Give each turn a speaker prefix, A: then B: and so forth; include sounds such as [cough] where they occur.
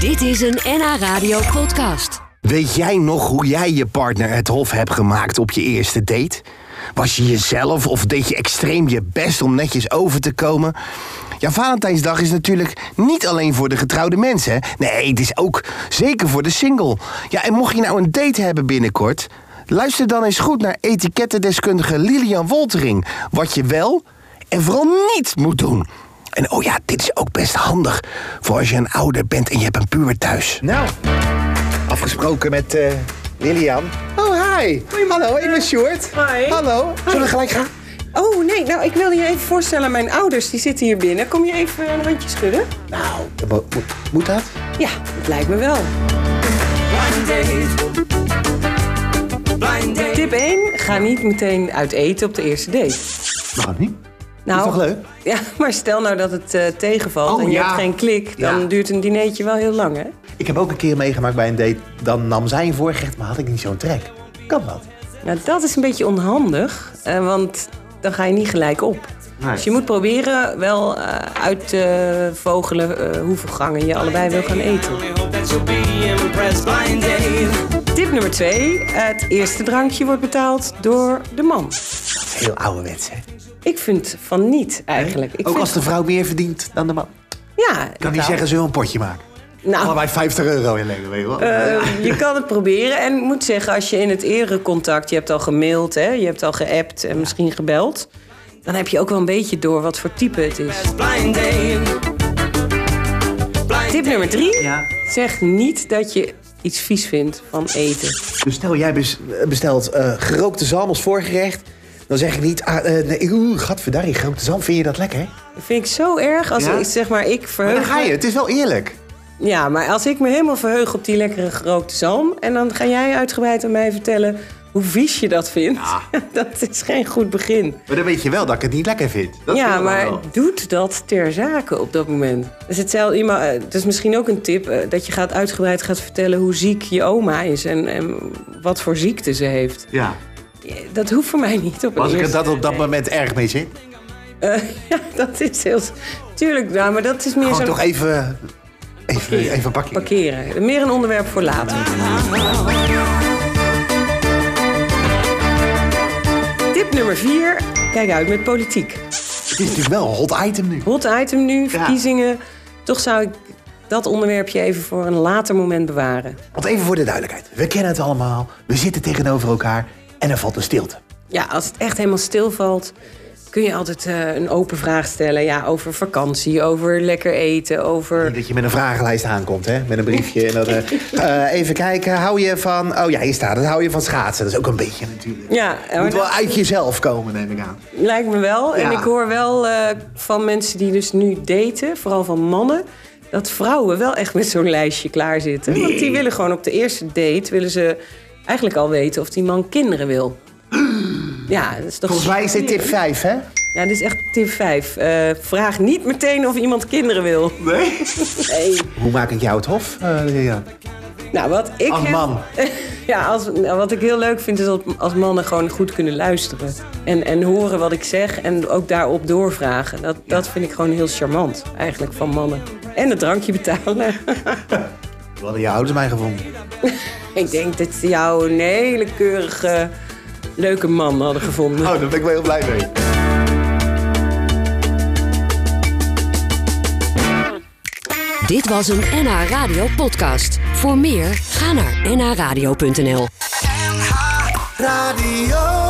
A: Dit is een NH Radio podcast.
B: Weet jij nog hoe jij je partner het hof hebt gemaakt op je eerste date? Was je jezelf of deed je extreem je best om netjes over te komen? Ja, Valentijnsdag is natuurlijk niet alleen voor de getrouwde mensen. hè? Nee, het is ook zeker voor de single. Ja, en mocht je nou een date hebben binnenkort, luister dan eens goed naar etikettendeskundige Lilian Woltering. Wat je wel en vooral niet moet doen. En oh ja, dit is ook best handig voor als je een ouder bent en je hebt een puber thuis. Nou, afgesproken met eh, Lilian. Oh, hi. Hallo, ik ben Sjoerd.
C: Hi.
B: Hallo. Zullen we gelijk gaan?
C: Oh nee, nou ik wilde je even voorstellen aan mijn ouders. Die zitten hier binnen. Kom je even een handje schudden?
B: Nou, dat mo- moet- moet dat?
C: Ja, dat lijkt me wel. Tip 1. Ga niet meteen uit eten op de eerste date.
B: Waarom niet?
C: Nou,
B: toch leuk?
C: Ja, maar stel nou dat het eh, tegenvalt
B: Oh,
C: en je
B: ja.
C: hebt geen klik. Dan
B: Ja.
C: duurt een dinertje wel heel lang, hè?
B: Ik heb ook een keer meegemaakt bij een date. Dan nam zij een voorgerecht, maar had ik niet zo'n trek. Kan dat?
C: Nou, dat is een beetje onhandig. eh, want dan ga je niet gelijk op. Dus je moet proberen wel eh, uit te vogelen eh, hoeveel gangen je allebei wil gaan eten. Tip nummer 2. Het eerste drankje wordt betaald door de man.
B: Heel ouderwets, hè?
C: Ik vind van niet eigenlijk. Ik
B: ook
C: vind,
B: als de vrouw meer verdient dan de man.
C: Ja,
B: Kan niet
C: nou,
B: zeggen, zullen we een potje maken?
C: Nou,
B: Allebei 50 euro in leggen, weet je wel.
C: eh, je kan het proberen. En ik moet zeggen, als je in het eerdere contact... je hebt al gemaild, hè, je hebt al geappt en misschien gebeld... dan heb je ook wel een beetje door wat voor type het is. Tip nummer 3. Zeg niet dat je iets vies vindt van eten.
B: Dus stel, jij bes- bestelt eh, gerookte zalm als voorgerecht. Dan zeg ik niet, ah, eh, nee, oeh, gadverdarrie, gerookte zalm, vind je dat lekker?
C: Dat vind ik zo erg als
B: Ja?
C: ik, zeg maar, ik verheug...
B: Dan ga je, het is wel eerlijk.
C: Ja, maar als ik me helemaal verheug op die lekkere gerookte zalm... en dan ga jij uitgebreid aan mij vertellen hoe vies je dat vindt... [laughs] dat is geen goed begin.
B: Maar dan weet je wel dat ik het niet lekker vind. Dat vind
C: ja,
B: ik
C: maar
B: wel.
C: doet dat ter zake op dat moment? Dus hetzelfde, iemand, eh, dat is misschien ook een tip... eh, dat je gaat uitgebreid gaat vertellen hoe ziek je oma is... en, en wat voor ziekte ze heeft.
B: Ja.
C: Dat hoeft voor mij niet op een
B: Als ik er
C: eerste-
B: dat
C: [laughs]
B: op dat moment erg mee zit,
C: Eh, ja, dat is heel... Tuurlijk, nou, maar dat is meer
B: gewoon
C: zo'n...
B: toch even, even, even pakken.
C: Parkeren. Meer een onderwerp voor later. Tip nummer 4. Kijk uit met politiek.
B: Het is natuurlijk wel een hot item nu.
C: Hot item nu, verkiezingen. Toch zou ik dat onderwerpje even voor een later moment bewaren.
B: Want even voor de duidelijkheid. We kennen het allemaal. We zitten tegenover elkaar. En er valt een stilte.
C: Ja, als het echt helemaal stilvalt, kun je altijd eh, een open vraag stellen. Ja, over vakantie, over lekker eten, over...
B: Niet dat je met een vragenlijst aankomt, hè? Met een briefje. En dat, eh, eh, even kijken, hou je van... Oh ja, hier staat het. Hou je van schaatsen? Dat is ook een beetje natuurlijk.
C: Ja,
B: Het
C: maar
B: moet wel
C: dat-
B: uit jezelf komen, neem ik aan.
C: Lijkt me wel.
B: Ja.
C: En ik hoor wel eh, van mensen die dus nu daten, vooral van mannen, dat vrouwen wel echt met zo'n lijstje klaar zitten. Want die willen gewoon op de eerste date willen ze eigenlijk al weten of die man kinderen wil. Ja, dat is toch.
B: Volgens mij is dit tip 5, hè?
C: Ja, dit is echt tip 5. vraag niet meteen of iemand kinderen wil.
B: Nee.
C: Nee.
B: Hoe maak ik jou het hof? Eh, ja.
C: Nou, wat ik.
B: Als
C: heb-
B: man.
C: [laughs] ja, als, nou, wat ik heel leuk vind is dat als mannen gewoon goed kunnen luisteren. En, en horen wat ik zeg en ook daarop doorvragen. Dat, dat vind ik gewoon heel charmant eigenlijk van mannen. En het drankje
B: [laughs]
C: betalen.
B: Hoe hadden je ouders mij gevonden?
C: ik denk dat ze jou een hele keurige, leuke man hadden gevonden.
B: Oh, daar ben ik wel heel blij mee.
A: Dit was een NH Radio podcast. Voor meer, ga naar nhradio.nl.
B: Radio.